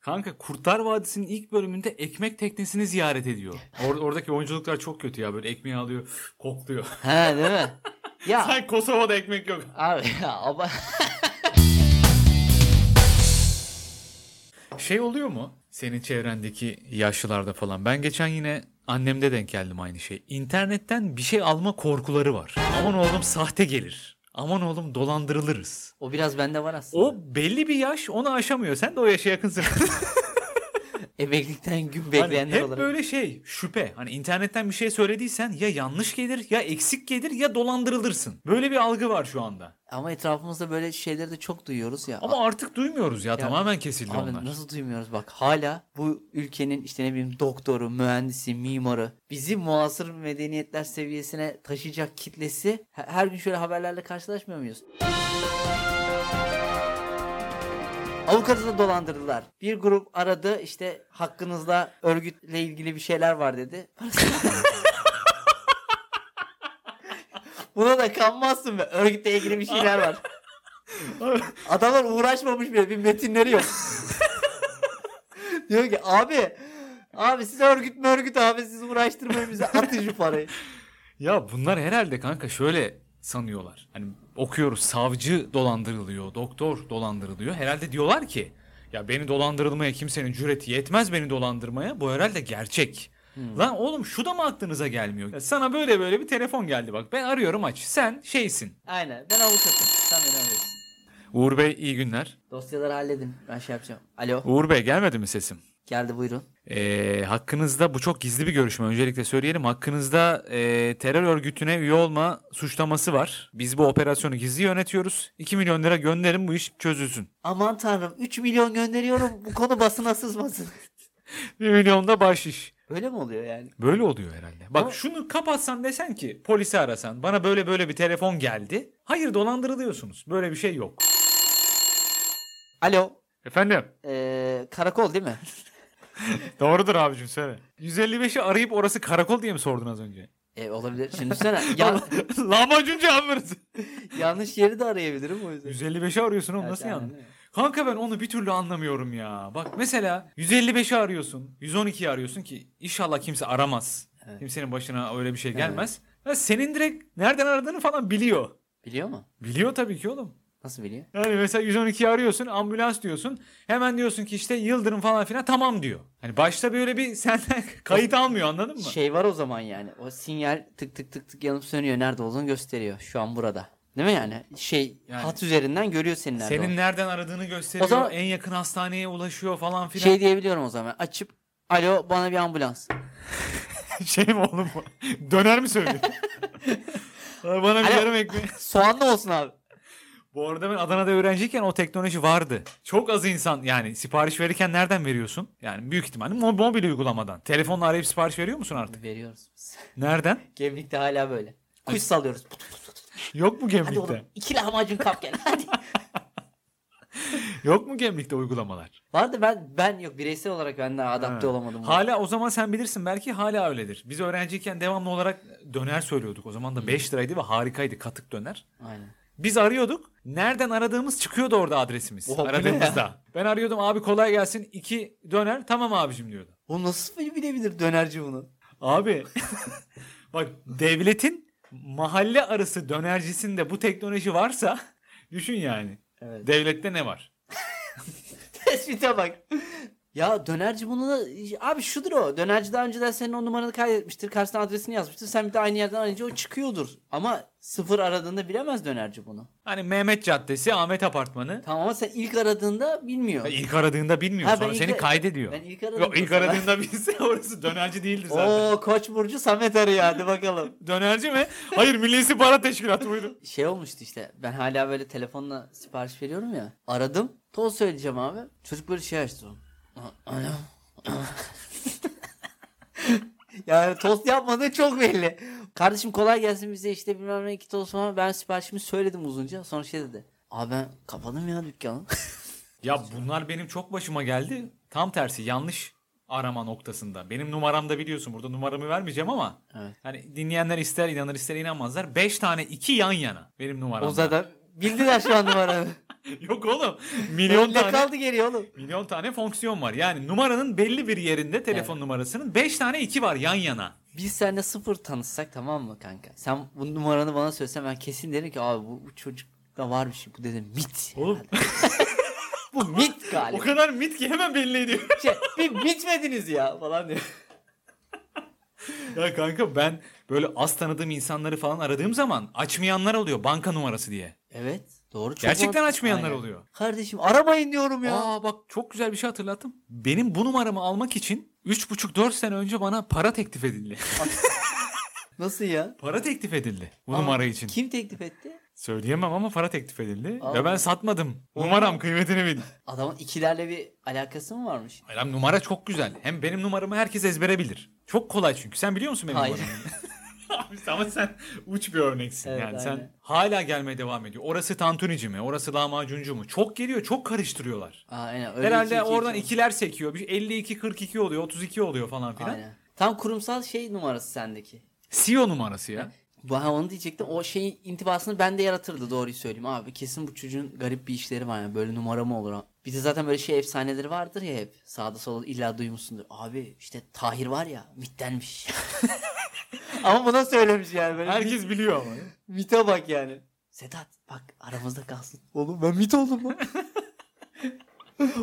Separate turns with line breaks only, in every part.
Kanka Kurtlar Vadisi'nin ilk bölümünde ekmek teknesini ziyaret ediyor. Or- oradaki oyunculuklar çok kötü ya. Böyle ekmeği alıyor, kokluyor.
He değil mi? Ya
Sen Kosova'da ekmek yok.
abi ya aba-
Şey oluyor mu? Senin çevrendeki yaşlılarda falan. Ben geçen yine annemde denk geldim aynı şey. İnternetten bir şey alma korkuları var. Aman oğlum sahte gelir. Aman oğlum dolandırılırız.
o biraz bende var aslında.
O belli bir yaş onu aşamıyor. Sen de o yaşa yakınsın.
Emeklilikten gün
Hani
bekleyenler
hep
olarak.
böyle şey şüphe. Hani internetten bir şey söylediysen ya yanlış gelir ya eksik gelir ya dolandırılırsın. Böyle bir algı var şu anda.
Ama etrafımızda böyle şeyleri de çok duyuyoruz ya.
Ama artık duymuyoruz ya, tamamen kesildi
Abi
onlar.
nasıl duymuyoruz bak hala bu ülkenin işte ne bileyim doktoru, mühendisi, mimarı bizi muasır medeniyetler seviyesine taşıyacak kitlesi he- her gün şöyle haberlerle karşılaşmıyor muyuz? Avukatı da dolandırdılar. Bir grup aradı işte hakkınızda örgütle ilgili bir şeyler var dedi. Buna da kanmazsın be. Örgütle ilgili bir şeyler var. Adamlar uğraşmamış bile bir metinleri yok. Diyor ki abi abi siz örgüt mü örgüt abi siz uğraştırmayın bize atın şu parayı.
Ya bunlar herhalde kanka şöyle sanıyorlar. Hani okuyoruz savcı dolandırılıyor, doktor dolandırılıyor. Herhalde diyorlar ki ya beni dolandırılmaya kimsenin cüreti yetmez beni dolandırmaya. Bu herhalde gerçek. Lan oğlum şu da mı aklınıza gelmiyor? Ya sana böyle böyle bir telefon geldi bak. Ben arıyorum aç. Sen şeysin.
Aynen ben avukatım sen beni arıyorsun.
Uğur Bey iyi günler.
Dosyaları halledin ben şey yapacağım. Alo
Uğur Bey gelmedi mi sesim?
geldi buyurun.
Ee, hakkınızda bu çok gizli bir görüşme öncelikle söyleyelim. Hakkınızda e, terör örgütüne üye olma suçlaması var. Biz bu operasyonu gizli yönetiyoruz. 2 milyon lira gönderin bu iş çözülsün.
Aman tanrım 3 milyon gönderiyorum bu konu basına sızmasın.
1 milyon da bahşiş.
Öyle mi oluyor yani?
Böyle oluyor herhalde. Bak
Ama-
şunu kapatsan desen ki polisi arasan bana böyle böyle bir telefon geldi. Hayır dolandırılıyorsunuz. Böyle bir şey yok.
Alo
Efendim
ee, karakol değil mi?
doğrudur abicim söyle. 155'i arayıp orası karakol diye mi sordun az önce?
E, olabilir. Şimdi düşünsene ya,
Lahmacun camiası.
yanlış yeri de arayabilirim o yüzden.
155'i arıyorsun oğlum nasıl
Evet,
yandın?
aynen öyle.
Kanka ben onu bir türlü anlamıyorum ya. Bak mesela 155'i arıyorsun, 112'yi arıyorsun ki inşallah kimse aramaz.
Evet.
Kimsenin başına öyle bir şey gelmez. Ya senin direkt nereden aradığını falan biliyor.
Biliyor mu?
Biliyor tabii ki oğlum.
Nasıl biliyor?
Yani mesela 112'yi arıyorsun, ambulans diyorsun. Hemen diyorsun ki işte Yıldırım falan filan tamam diyor. Hani başta böyle bir senden kayıt almıyor anladın mı?
Şey var o zaman yani. O sinyal tık tık tık tık yanıp sönüyor. Nerede olduğunu gösteriyor. Şu an burada. Değil mi yani? Şey
Yani-
hat üzerinden görüyor senin nerede
senin
olduğunu.
nereden aradığını gösteriyor.
O zaman-
en yakın hastaneye ulaşıyor falan filan.
Şey diyebiliyorum o zaman. Açıp alo bana bir ambulans.
Şey mi oğlum bu? Döner mi söylüyor? Bana bir
Alo.
yarım ekmeği.
Soğanlı olsun abi.
Bu arada ben Adana'da öğrenciyken o teknoloji vardı. Çok az insan yani sipariş verirken nereden veriyorsun? Yani büyük ihtimalle mo- mobil uygulamadan. Telefonla arayıp sipariş veriyor musun artık?
Veriyoruz biz.
Nereden?
Gemlikte hala böyle. Kuş salıyoruz.
Yok mu
Hadi
gemlikte?
oğlum iki lahmacun kap gel hadi.
Yok mu gemlikte uygulamalar?
Vardı ben ben yok bireysel olarak ben daha adapte
Ha.
olamadım. buna.
Hala o zaman sen bilirsin belki hala öyledir. Biz öğrenciyken devamlı olarak döner söylüyorduk. O zaman da 5 liraydı ve harikaydı katık döner.
Aynen.
Biz arıyorduk. Nereden aradığımız çıkıyordu orada adresimiz.
Oha, bu ne
aradığımızda. Ben arıyordum abi kolay gelsin iki döner tamam abicim diyordu.
Bu nasıl bilebilir dönerci bunu?
Abi bak devletin mahalle arası dönercisinde bu teknoloji varsa düşün yani.
Evet.
Devlette ne var?
Tespite bak. Ya dönerci bunu da abi şudur o. Dönerci daha önceden senin o numaranı kaydetmiştir. Karşısına adresini yazmıştır. Sen bir de aynı yerden arayınca o çıkıyordur. Ama sıfır aradığında bilemez dönerci bunu.
Hani Mehmet Caddesi, Ahmet Apartmanı.
Tamam ama sen ilk aradığında bilmiyor.
Ya İlk aradığında bilmiyor.
Ha, ben
Sonra
ilk-
seni kaydediyor.
ben ilk aradım
Yok, ilk
mesela.
aradığında bilse orası dönerci değildir zaten.
Oo Koç Burcu Samet arıyor hadi bakalım.
Dönerci mi? Hayır Milli İstihbarat Teşkilatı buyurun.
Şey olmuştu işte ben hala böyle telefonla sipariş veriyorum ya. Aradım. Toz söyleyeceğim abi. Çocuk böyle şey açtı. A- Alo. yani tost yapmadığı çok belli. Kardeşim kolay gelsin bize işte bilmem ne iki tost falan. Ben siparişimi söyledim uzunca. Sonra şey dedi. Abi ben kapadım ya dükkanı.
Ya bunlar benim çok başıma geldi. Tam tersi yanlış arama noktasında. Benim numaramda biliyorsun burada numaramı vermeyeceğim ama
Evet.
hani dinleyenler ister inanır ister inanmazlar. 5 tane 2 yan yana benim numaramda.
o zaten bildiler şu an numaramı.
Yok oğlum. Milyon
Milyon
tane
kaldı geliyor oğlum.
milyon tane fonksiyon var. Yani numaranın belli bir yerinde telefon numarasının 5 tane 2 var yan yana.
Biz seninle sıfır tanışsak tamam mı kanka? Sen bu numaranı bana söylesen ben kesin derim ki abi bu, bu çocukta var bir şey. Bu dedim mit.
Oğlum
Bu mit
o
galiba.
kadar mit ki hemen belli ediyor.
şey, bir bitmediniz ya falan diyor.
ya kanka ben böyle az tanıdığım insanları falan aradığım zaman açmayanlar oluyor banka numarası diye.
Evet doğru. Çok
Gerçekten
mantıklı.
açmayanlar oluyor.
Kardeşim aramayın diyorum ya.
Aa bak çok güzel bir şey hatırlattım. Benim bu numaramı almak için 3,5-4 sene önce bana para teklif edildi.
Nasıl ya?
para teklif edildi bu
Aa,
numara için.
Kim teklif etti?
Söyleyemem ama para teklif edildi.
Aa.
Ve ben satmadım. Numaram kıymetini bil.
Adamın ikilerle bir alakası mı varmış?
Hayır abi, numara çok güzel. Hem benim numaramı herkes ezbere bilir. Çok kolay çünkü. Sen biliyor musun benim
Hayır.
numaramı? Abi ama sen uç bir örneksin.
Evet,
yani sen
aynen.
hala gelmeye devam ediyor. Orası tantunici mi? Orası lahmacuncu mu? Çok geliyor. Çok karıştırıyorlar.
Aa, aynen, öyle
Herhalde
iki- iki-
oradan
iki-
ikiler sekiyor. Bir 52 42 oluyor, 32 oluyor falan filan.
Aynen. Tam kurumsal şey numarası sendeki.
CEO numarası ya.
Bu- ha, onu diyecektim. O şeyin intibasını ben de yaratırdı doğruyu söyleyeyim. Abi kesin bu çocuğun garip bir işleri var. Yani. Böyle numara mı olur? ha? Bir de zaten böyle şey efsaneleri vardır ya hep. Sağda solda illa duymuşsundur. Abi işte Tahir var ya mittenmiş. Ama buna söylemiş yani. Böyle
Herkes biliyor ama.
Mite bak yani. Sedat bak aramızda kalsın. Oğlum ben mit oldum lan.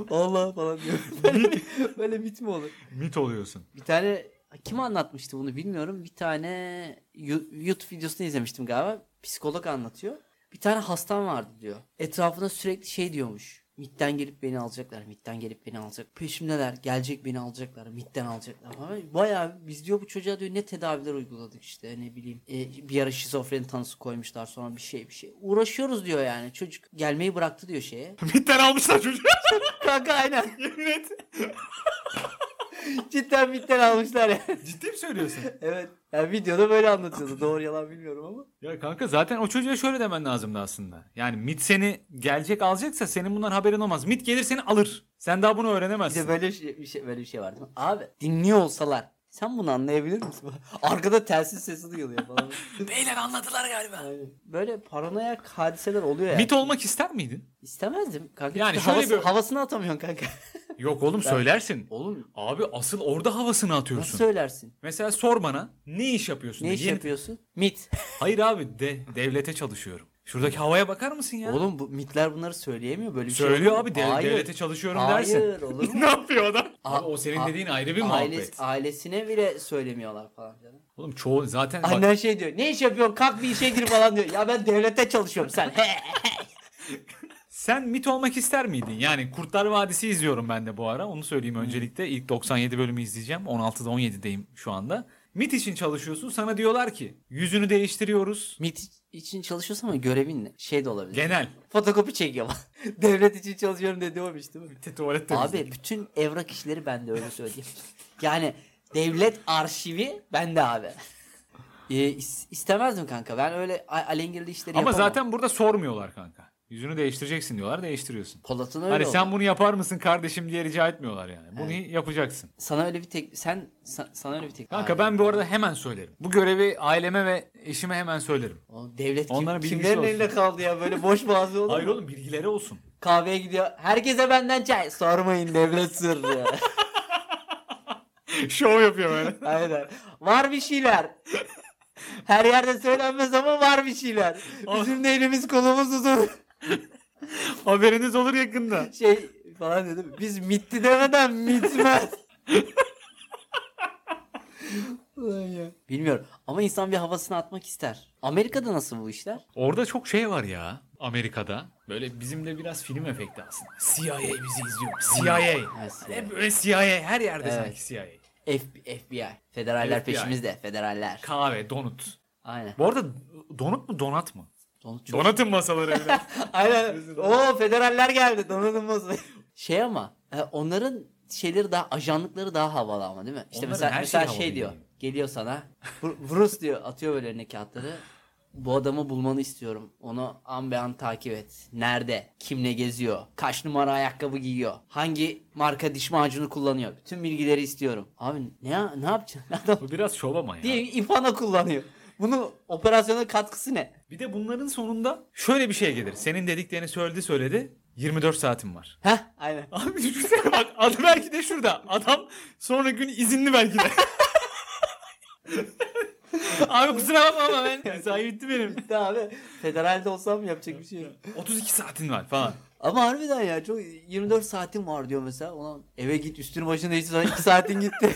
Allah falan diyor. Böyle, böyle mit mi olur?
Mit oluyorsun.
Bir tane kim anlatmıştı bunu bilmiyorum. Bir tane Yu- YouTube videosunu izlemiştim galiba. Psikolog anlatıyor. Bir tane hastam vardı diyor. Etrafına sürekli şey diyormuş. Mitten gelip beni alacaklar. Mitten gelip beni alacak. Peşimdeler. Gelecek beni alacaklar. Mitten alacaklar. Ama Bayağı biz diyor bu çocuğa diyor ne tedaviler uyguladık işte ne bileyim. E, bir ara şizofreni tanısı koymuşlar sonra bir şey bir şey. Uğraşıyoruz diyor yani. Çocuk gelmeyi bıraktı diyor şeye.
Mitten almışlar çocuğu.
Kanka aynen.
Yemin et.
Cidden mitten almışlar yani.
Ciddi mi söylüyorsun?
Evet. Yani videoda böyle anlatıyordu. Doğru yalan bilmiyorum ama.
Ya kanka zaten o çocuğa şöyle demen lazımdı aslında. Yani MIT seni gelecek alacaksa senin bundan haberin olmaz. MIT gelir seni alır. Sen daha bunu
Bir
öğrenemezsin.
de böyle bir şey, bir şey- böyle bir şey var değil mi? Abi dinliyor olsalar sen bunu anlayabilir misin? Arkada telsiz sesi duyuluyor falan.
Beyler anladılar galiba.
Aynen. böyle paranoyak hadiseler oluyor yani.
MIT olmak ister miydin?
İstemezdim kanka.
Yani
Çünkü
şöyle
havası-
bir-
havasını atamıyorsun kanka.
Yok oğlum söylersin.
Oğlum
Abi asıl orada havasını
nasıl
atıyorsun.
söylersin?
Mesela sor bana ne iş yapıyorsun?
Ne
diye.
iş
Yeni-
yapıyorsun? MIT.
Hayır abi de devlete çalışıyorum. Şuradaki havaya bakar mısın ya?
Oğlum bu MIT'ler bunları söyleyemiyor böyle bir şey.
Söylüyor
olur mu?
abi dev-
Hayır.
devlete çalışıyorum
Hayır,
dersin.
olur mu?
ne yapıyor adam?
A-
Abi o senin
a-
dediğin ayrı bir
Aile-
muhabbet.
ailesine bile söylemiyorlar falan. canım.
Oğlum çoğu zaten bak-
Annen şey diyor. Ne iş yapıyorsun? Kalk bir işe gir falan diyor. Ya ben devlete çalışıyorum sen.
Sen mit olmak ister miydin? Yani Kurtlar Vadisi izliyorum ben de bu ara. Onu söyleyeyim
Hmm.
öncelikle. ilk 97 bölümü izleyeceğim. 16'da 17'deyim şu anda. Mit için çalışıyorsun. Sana diyorlar ki yüzünü değiştiriyoruz.
MIT için çalışıyorsun ama görevin ne? Şey de olabilir.
Genel.
Fotokopi çekiyor bak. Devlet için çalışıyorum dedi oymuş değil mi?
Tuvalet temizliği.
Abi bütün evrak işleri bende öyle söyleyeyim. yani devlet arşivi bende abi. Ee, is- istemezdim kanka. Ben öyle a- alengirli işleri
Ama
yapamam.
zaten burada sormuyorlar kanka. Yüzünü değiştireceksin diyorlar. Değiştiriyorsun.
Polat'ın öyle
Hani
oldu.
sen bunu yapar mısın kardeşim diye rica etmiyorlar yani. Bunu yapacaksın.
Sana öyle bir tek... Sen... sa- sana öyle bir tek...
Kanka
Abi,
ben bu arada hemen söylerim. Bu görevi aileme ve eşime hemen söylerim.
o devlet kim,
Onların bilgisi
kimlerin
olsun.
elinde kaldı ya böyle boş boğazlı olur
Hayır
mu?
oğlum bilgileri olsun.
Kahveye gidiyor. Herkese benden çay. Sormayın devlet sırrı.
Şov yapıyor böyle.
Aynen. Var bir şeyler. Her yerde söylenmez ama var bir şeyler. Bizim de elimiz kolumuz uzun.
Haberiniz olur yakında.
Şey falan dedim. Biz mitti demeden mitmez. Ulan ya. Bilmiyorum ama insan bir havasını atmak ister. Amerika'da nasıl bu işler?
Orada çok şey var ya Amerika'da. Böyle bizim de biraz film efekti aslında. CIA bizi izliyor. CIA.
Evet, CIA.
Hep böyle CIA. Her yerde
Evet.
sanki CIA.
F- FBI. Federaller
FBI.
peşimizde. Federaller.
Kahve, donut.
Aynen.
Bu arada donut mu donat mı?
Donut çok-
Donatın masaları evde.
Aynen. O federaller geldi. Donanılmaz. şey ama e, onların şeyleri daha ajanlıkları daha havalı ama değil mi? İşte
Onların
mesela
her
mesela
şeyi
şey
havalı
diyor.
yani.
Geliyor sana. Bru- Bruce diyor atıyor böyle eline kağıtları. Bu adamı bulmanı istiyorum. Onu an be an takip et. Nerede? Kimle geziyor? Kaç numara ayakkabı giyiyor? Hangi marka diş macunu kullanıyor? Bütün bilgileri istiyorum. Abi ne ya- ne yapacaksın? Adam
Bu biraz şov ama ya.
diye ipana kullanıyor. Bunun operasyona katkısı ne?
Bir de bunların sonunda şöyle bir şey gelir. Senin dediklerini söyledi söyledi. 24 saatim var.
Heh aynen.
Abi düşünsene bak adı belki de şurada. Adam sonra gün izinli belki de. Abi kusura bakma ama ben mesai bitti benim.
Bitti abi. Federalde olsam yapacak bir şey yok.
32 saatin var falan.
Ama harbiden ya çok 24 saatim var diyor mesela. Ulan eve git üstün başına hiç sonra 2 saatin gitti.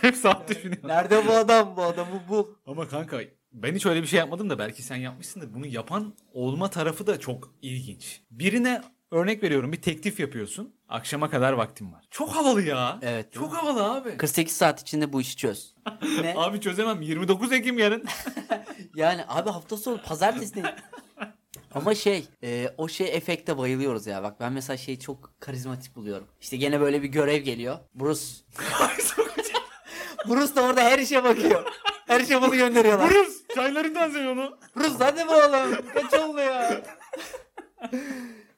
Hep saat düşünüyor.
Nerede bu adam bu adamı bul.
Ama kanka ben hiç öyle bir şey yapmadım da belki sen yapmışsındır. Bunu yapan olma tarafı da çok ilginç. Birine örnek veriyorum bir teklif yapıyorsun. Akşama kadar vaktim var. Çok havalı ya.
Evet.
Çok havalı abi.
48 saat içinde bu işi çöz. Ne?
Abi çözemem 29 Ekim yarın.
Yani abi hafta sonu pazartesi değil. Ama şey e, o şey efekte bayılıyoruz ya. Bak ben mesela şeyi çok karizmatik buluyorum. İşte gene böyle bir görev geliyor. Bruce. Bruce da orada her işe bakıyor. Her işe bunu gönderiyorlar.
Buruz çaylarından sen onu.
Bruce hadi be oğlum. Kaç oldu ya?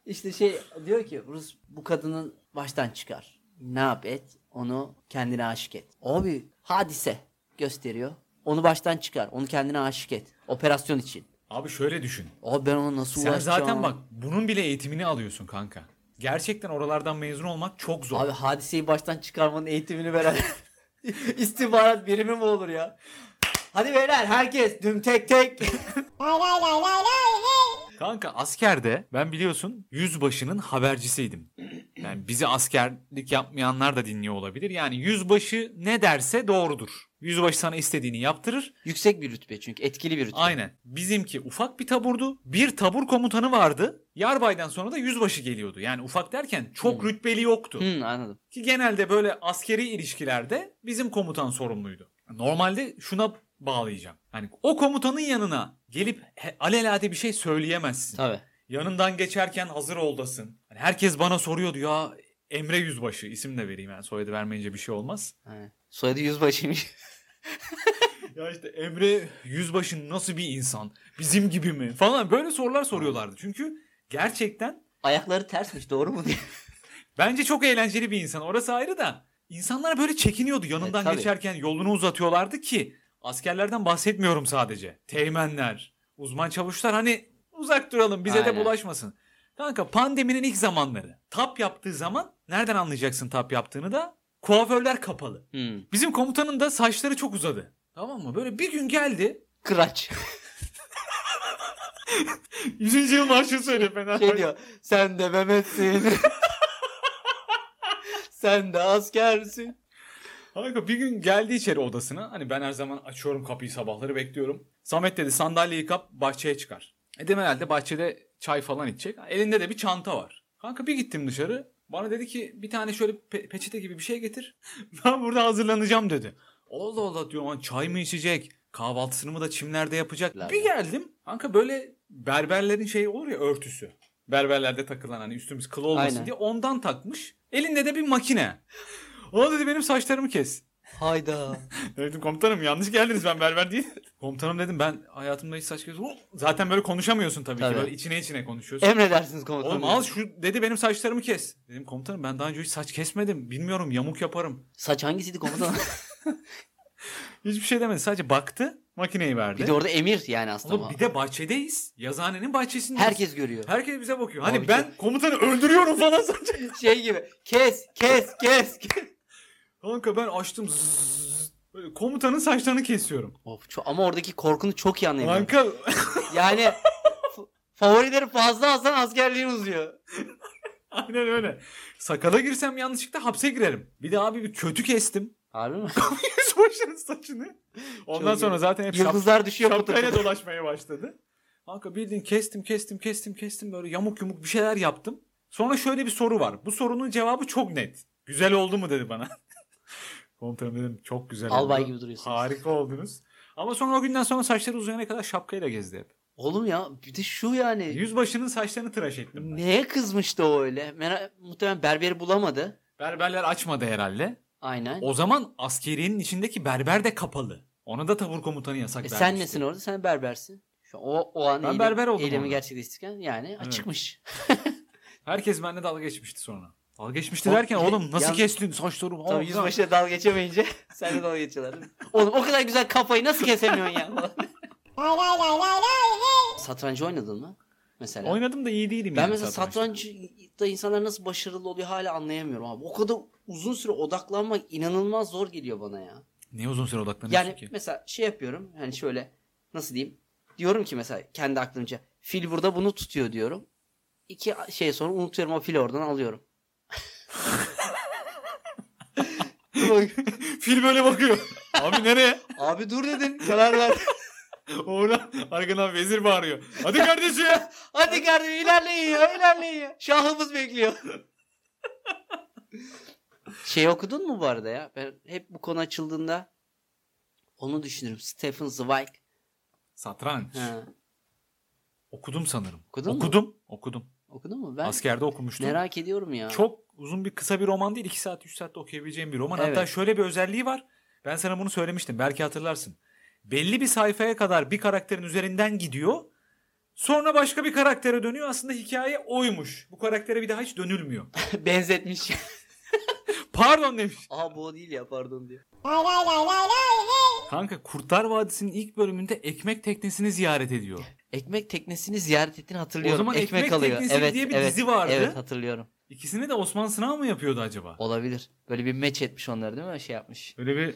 işte şey diyor ki Bruce bu kadının baştan çıkar. Ne yap et? Onu kendine aşık et. Abi hadise gösteriyor. Onu baştan çıkar. Onu kendine aşık et. Operasyon için.
Abi şöyle düşün.
Abi ben ona nasıl
Sen
ulaşacağım?
zaten bak bunun bile eğitimini alıyorsun kanka. Gerçekten oralardan mezun olmak çok zor.
Abi hadiseyi baştan çıkarmanın eğitimini veren istihbarat birimi mi olur ya? Hadi beyler herkes düm tek tek.
Kanka askerde ben biliyorsun yüzbaşının habercisiydim. Yani bizi askerlik yapmayanlar da dinliyor olabilir. Yani yüzbaşı ne derse doğrudur. Yüzbaşı sana istediğini yaptırır.
Yüksek bir rütbe çünkü etkili bir rütbe.
Aynen. Bizimki ufak bir taburdu. Bir tabur komutanı vardı. Yarbaydan sonra da yüzbaşı geliyordu. Yani ufak derken çok rütbeli yoktu.
Hı, anladım.
Ki genelde böyle askeri ilişkilerde bizim komutan sorumluydu. Normalde şuna bağlayacağım. Hani o komutanın yanına gelip he- alelade bir şey söyleyemezsin.
Tabii.
Yanından geçerken hazır oldasın. Hani herkes bana soruyordu ya Emre Yüzbaşı isim de vereyim yani soyadı vermeyince bir şey olmaz.
Aynen. Soyadı yüzbaşıymış.
Ya işte Emre Yüzbaşı nasıl bir insan? Bizim gibi mi? Falan böyle sorular soruyorlardı. Çünkü gerçekten
Ayakları tersmiş doğru mu?
bence çok eğlenceli bir insan. Orası ayrı da insanlar böyle çekiniyordu yanından
E, tabii.
geçerken yolunu uzatıyorlardı ki askerlerden bahsetmiyorum sadece. Teğmenler, uzman çavuşlar hani uzak duralım bize de
Aynen.
bulaşmasın. Kanka pandeminin ilk zamanları. Tap yaptığı zaman nereden anlayacaksın tap yaptığını da? Kuaförler kapalı.
Hı.
Bizim komutanın da saçları çok uzadı. Tamam mı? Böyle bir gün geldi.
Kıraç.
100. yıl marşı söyle fena.
Şey diyor. Sen de Mehmet'sin. Sen de askersin.
Kanka bir gün geldi içeri odasına. Hani ben her zaman açıyorum kapıyı sabahları bekliyorum. Samet dedi sandalyeyi kap bahçeye çıkar. Edem herhalde bahçede çay falan içecek. Elinde de bir çanta var. Kanka bir gittim dışarı. Bana dedi ki bir tane şöyle pe- peçete gibi bir şey getir. Ben burada hazırlanacağım dedi. Allah Allah diyorum "Lan çay mı içecek? Kahvaltısını mı da çimlerde yapacak?
Lan.
Bir geldim. Kanka böyle berberlerin şeyi olur ya örtüsü. Berberlerde takılan hani üstümüz kıl olmasın
Aynen.
diye ondan takmış. Elinde de bir makine. O dedi benim saçlarımı kes.
Hayda.
Dedim komutanım yanlış geldiniz ben berber değil. komutanım dedim ben hayatımda hiç saç kes. Hop! Zaten böyle konuşamıyorsun tabii,
Tabii.
ki. Böyle içine içine konuşuyorsun.
Emredersiniz komutanım.
Oğlum al şu dedi benim saçlarımı kes. Dedim komutanım ben daha önce hiç saç kesmedim. Bilmiyorum yamuk yaparım.
Saç hangisiydi komutanım?
Hiçbir şey demedi. Sadece baktı makineyi verdi.
bir de orada emir yani aslında.
Oğlum bir de bahçedeyiz. Yazıhanenin bahçesindeyiz.
Herkes görüyor.
Herkes bize bakıyor. Hani
Abi
ben komutanı öldürüyorum falan sanacak.
şey gibi kes kes kes. kes.
Kanka ben açtım. zzzz. Böyle komutanın saçlarını kesiyorum.
of, ço- ama oradaki korkunu çok iyi anlayabiliyorum.
Kanka
Yani f- favorileri fazla alsan askerliğin uzuyor.
Aynen öyle. Sakala girsem yanlışlıkla hapse girerim. Bir de abi bir kötü kestim.
Harbi mi?
Yüzbaşının saçını. Ondan
Çok iyi.
sonra zaten hep şap-
Yıldızlar düşüyor bu
şapkayla
tarafa.
dolaşmaya başladı. Kanka bildiğin kestim kestim kestim kestim böyle yamuk yumuk bir şeyler yaptım. Sonra şöyle bir soru var. Bu sorunun cevabı çok net. Güzel oldu mu dedi bana. Komutanım dedim çok güzel
Albay
oldu.
gibi duruyorsun.
Harika oldunuz. Ama sonra o günden sonra saçları uzayana kadar şapkayla gezdi hep.
Oğlum ya bir de şu
Ee,
yani.
Yüzbaşının saçlarını tıraş ettim ben.
Neye kızmıştı o öyle? Mera- muhtemelen berberi bulamadı.
Berberler açmadı herhalde.
Aynen. E,
O zaman askeriyenin içindeki berber de kapalı. Ona da tabur komutanı yasak
E
vermişti.
sen nesin orada? Sen berbersin. Şu an- o, o an
Ben berber oldum
eylemi
orada.
gerçekleştirirken yani açıkmış.
Herkes benimle dalga geçmişti sonra. Dalga geçmişti
O-
derken oğlum nasıl
Yalnız-
kestin saçlarımı?
Tabii yüzbaşıyla dalga geçemeyince sen de dalga geçiyorlar. değil mi? Oğlum o kadar güzel kafayı nasıl kesemiyorsun ya? Satrancı oynadın mı? Mesela.
Oynadım da iyi değilim.
ben
yani
mesela
satrançta.
satrançta insanlar nasıl başarılı oluyor hala anlayamıyorum abi. O kadar uzun süre odaklanmak inanılmaz zor geliyor bana ya.
Niye uzun süre odaklanıyorsun
Yani
ki?
mesela şey yapıyorum hani şöyle nasıl diyeyim diyorum ki mesela kendi aklımca fil burada bunu tutuyor diyorum. İki a- şey sonra unutuyorum o fili oradan alıyorum. Bak,
Fil böyle bakıyor. Abi nereye?
abi dur dedin karar ver.
Orada arkadan vezir bağırıyor. Hadi kardeşim.
Hadi kardeşim ilerleyin ya ilerleyin ya. Şahımız bekliyor. şey okudun mu bu arada ya? Ben hep bu konu açıldığında onu düşünürüm. Stephen Zweig.
Satranç.
Ha,
Okudum sanırım.
Okudun mu?
okudum. Okudum.
okudun mu? Ben
Askerde okumuştum.
merak ediyorum ya.
Çok uzun bir kısa bir roman değil. 2 saat 3 saatte okuyabileceğim bir roman.
Evet.
Hatta şöyle bir özelliği var. Ben sana bunu söylemiştim. Belki hatırlarsın. Belli bir sayfaya kadar bir karakterin üzerinden gidiyor. Sonra başka bir karaktere dönüyor. Aslında hikaye oymuş. Bu karaktere bir daha hiç dönülmüyor.
benzetmiş.
Pardon demiş.
Aha bu o değil ya pardon diyor.
Kanka Kurtlar Vadisi'nin ilk bölümünde ekmek teknesini ziyaret ediyor.
Ekmek teknesini ziyaret ettiğini hatırlıyorum.
O zaman Ekmek
alıyor.
Teknesi diye bir dizi vardı.
Evet hatırlıyorum.
İkisini de Osman Sınav mı yapıyordu acaba?
Olabilir. Böyle bir match etmiş onlar değil mi? Şey yapmış.
Öyle bir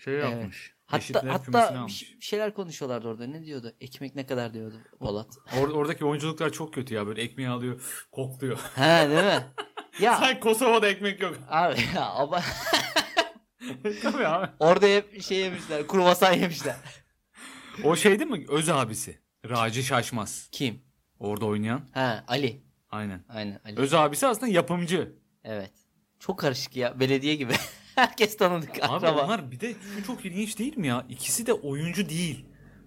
şey
Evet.
yapmış.
Hatta
Eşitler
hatta
kümesini
bir şey-
almış.
ş- bir şeyler konuşuyorlardı orada. Ne diyordu? Ekmek ne kadar diyordu Polat.
Or- oradaki oyunculuklar çok kötü ya. Böyle ekmeği alıyor, kokluyor.
He değil mi? Ya
Sen Kosova'da ekmek yok.
Abi ya ama
Tabii abi.
orada hep şey yemişler. Kruvasan yemişler.
O şey değil mi? Öz abisi. Raci Şaşmaz.
Kim?
Orada oynayan.
Ha Ali.
Aynen.
Aynen Ali.
Öz abisi aslında yapımcı.
Evet. Çok karışık ya. Belediye gibi. Herkes tanıdık
Abi
akraba.
onlar bir de şu çok ilginç değil mi ya? İkisi de oyuncu değil.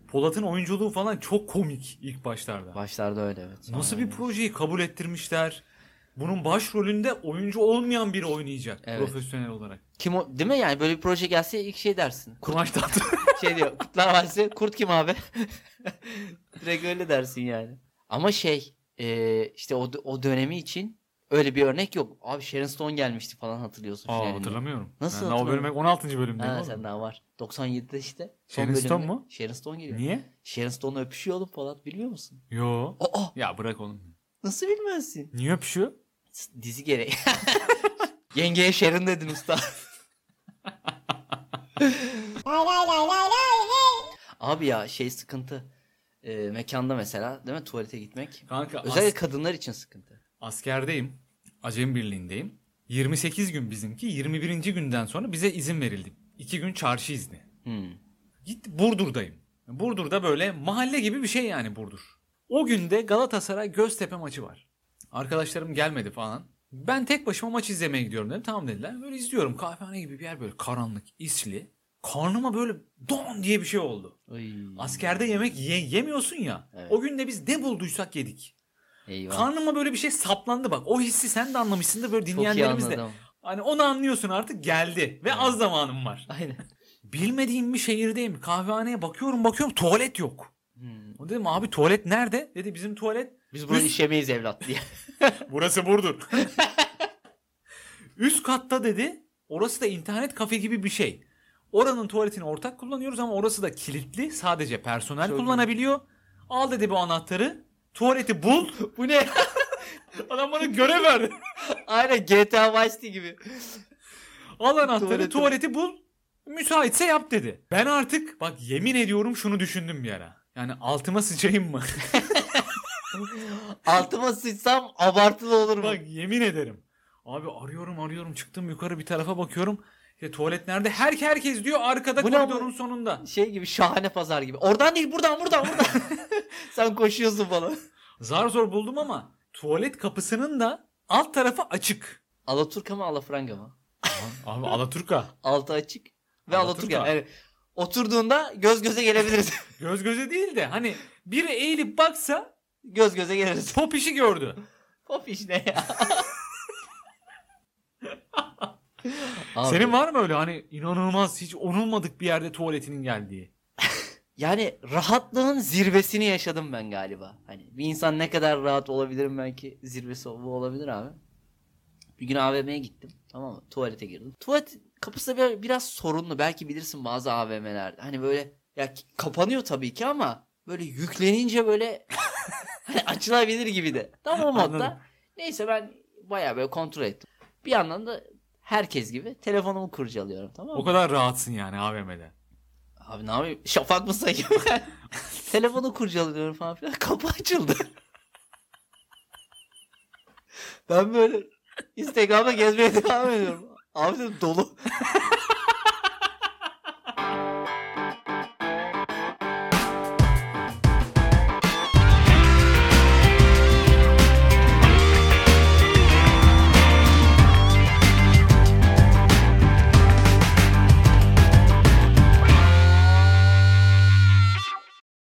Polat'ın oyunculuğu falan çok komik ilk başlarda.
Başlarda öyle evet. Sonra
Nasıl
öyle.
bir projeyi kabul ettirmişler? Bunun başrolünde oyuncu olmayan biri oynayacak
Evet.
profesyonel olarak.
Kim o? Değil mi yani böyle bir proje gelse ilk şey dersin.
Kulaç tatlı.
şey diyor. Kurtlar Vadisi. Kurt kim abi? Direkt öyle dersin yani. Ama şey e, işte o, o dönemi için öyle bir örnek yok. Abi Sharon Stone gelmişti falan hatırlıyorsun.
Aa
finalinde.
Şey, hatırlamıyorum.
Nasıl
ben daha o bölüme 16. bölümdeyim.
Ha
oğlum.
sen daha var. 97'de işte. son
Sharon Stone
bölümde-
mu?
Sharon Stone geliyor.
Niye?
Sharon Stone'la öpüşüyor oğlum Polat biliyor musun?
Yo.
Aa
Ya bırak oğlum.
nasıl bilmezsin?
Niye öpüşüyor?
S- Dizi gereği. Yengeye Sharon dedin usta. Abi ya şey sıkıntı. Ee, mekanda mesela değil mi tuvalete gitmek.
Kanka
Özellikle
as-
kadınlar için sıkıntı.
askerdeyim. Acem birliğindeyim. 28 gün bizimki. 21. günden sonra bize izin verildi. 2 gün çarşı izni.
Hmm.
Git Burdur'dayım. Burdur'da böyle mahalle gibi bir şey yani Burdur. O günde Galatasaray Göztepe maçı var. Arkadaşlarım gelmedi falan. Ben tek başıma maç izlemeye gidiyorum dedim. Tamam dediler. Böyle izliyorum. Kahvehane gibi bir yer böyle karanlık, isli. Karnıma böyle don diye bir şey oldu.
Ay,
Askerde yemek ye- yemiyorsun ya.
Evet.
O gün de biz ne bulduysak yedik.
eyvah.
Karnıma böyle bir şey saplandı bak. O hissi sen de anlamışsındır böyle
Çok iyi
dinleyenlerimiz de.
anladım.
Hani onu anlıyorsun artık geldi ve az zamanım var.
Aynen.
Bilmediğim bir şehirdeyim. Kahvehaneye bakıyorum bakıyorum tuvalet yok.
Hmm.
O dedim abi tuvalet nerede? Dedi bizim tuvalet.
Biz burayı
Üst-
işemeyiz evlat diye.
Burası Burdur. Üst katta dedi. Orası da internet kafe gibi bir şey. Oranın tuvaletini ortak kullanıyoruz ama orası da kilitli. Sadece personel
Çok iyi.
kullanabiliyor. Al dedi bu anahtarı. Tuvaleti bul.
Bu ne?
Adam bana görev verdi.
Aynen GTA Vice City gibi.
Al anahtarı
Tuvaleti-
tuvaleti, bul. Müsaitse yap dedi. Ben artık bak yemin ediyorum şunu düşündüm bir ara. Yani altıma sıçayım mı?
Altıma sıçsam abartılı olur mu?
Bak yemin ederim. Abi arıyorum arıyorum çıktım yukarı bir tarafa bakıyorum. İşte tuvalet nerede? Her herkes diyor arkada
Bu ne
koridorun
ama?
sonunda.
şey gibi şahane pazar gibi. Oradan değil buradan buradan buradan. Sen koşuyorsun falan.
Zar zor buldum ama tuvalet kapısının da alt tarafı açık.
Alaturka mı Alafranga mı?
Abi Alaturka.
Altı açık ve Alaturka.
Alaturka.
Yani oturduğunda göz göze gelebiliriz.
Göz göze değil de hani biri eğilip baksa
göz göze geliriz.
top işi gördü.
Hop iş ne ya? Abi,
Senin var mı öyle hani inanılmaz hiç onulmadık bir yerde tuvaletinin geldiği?
Yani rahatlığın zirvesini yaşadım ben galiba. Hani bir insan ne kadar rahat olabilirim belki zirvesi bu olabilir abi. Bir gün AVM'ye gittim. Tamam mı? Tuvalete girdim. Tuvalet kapısı da bir- biraz sorunlu. Belki bilirsin bazı AVM'lerde. Hani böyle ya ki- kapanıyor tabii ki ama böyle yüklenince böyle hani açılabilir gibi de. Tam o
Anladım.
modda. Neyse ben bayağı böyle kontrol ettim. Bir yandan da herkes gibi telefonumu kurcalıyorum tamam mı?
O kadar rahatsın yani AVM'de.
Abi ne yapayım? Şafak mı sayayım? Telefonu kurcalıyorum falan filan. Kapı açıldı. ben böyle Instagram'da gezmeye devam ediyorum. Abi dedim dolu.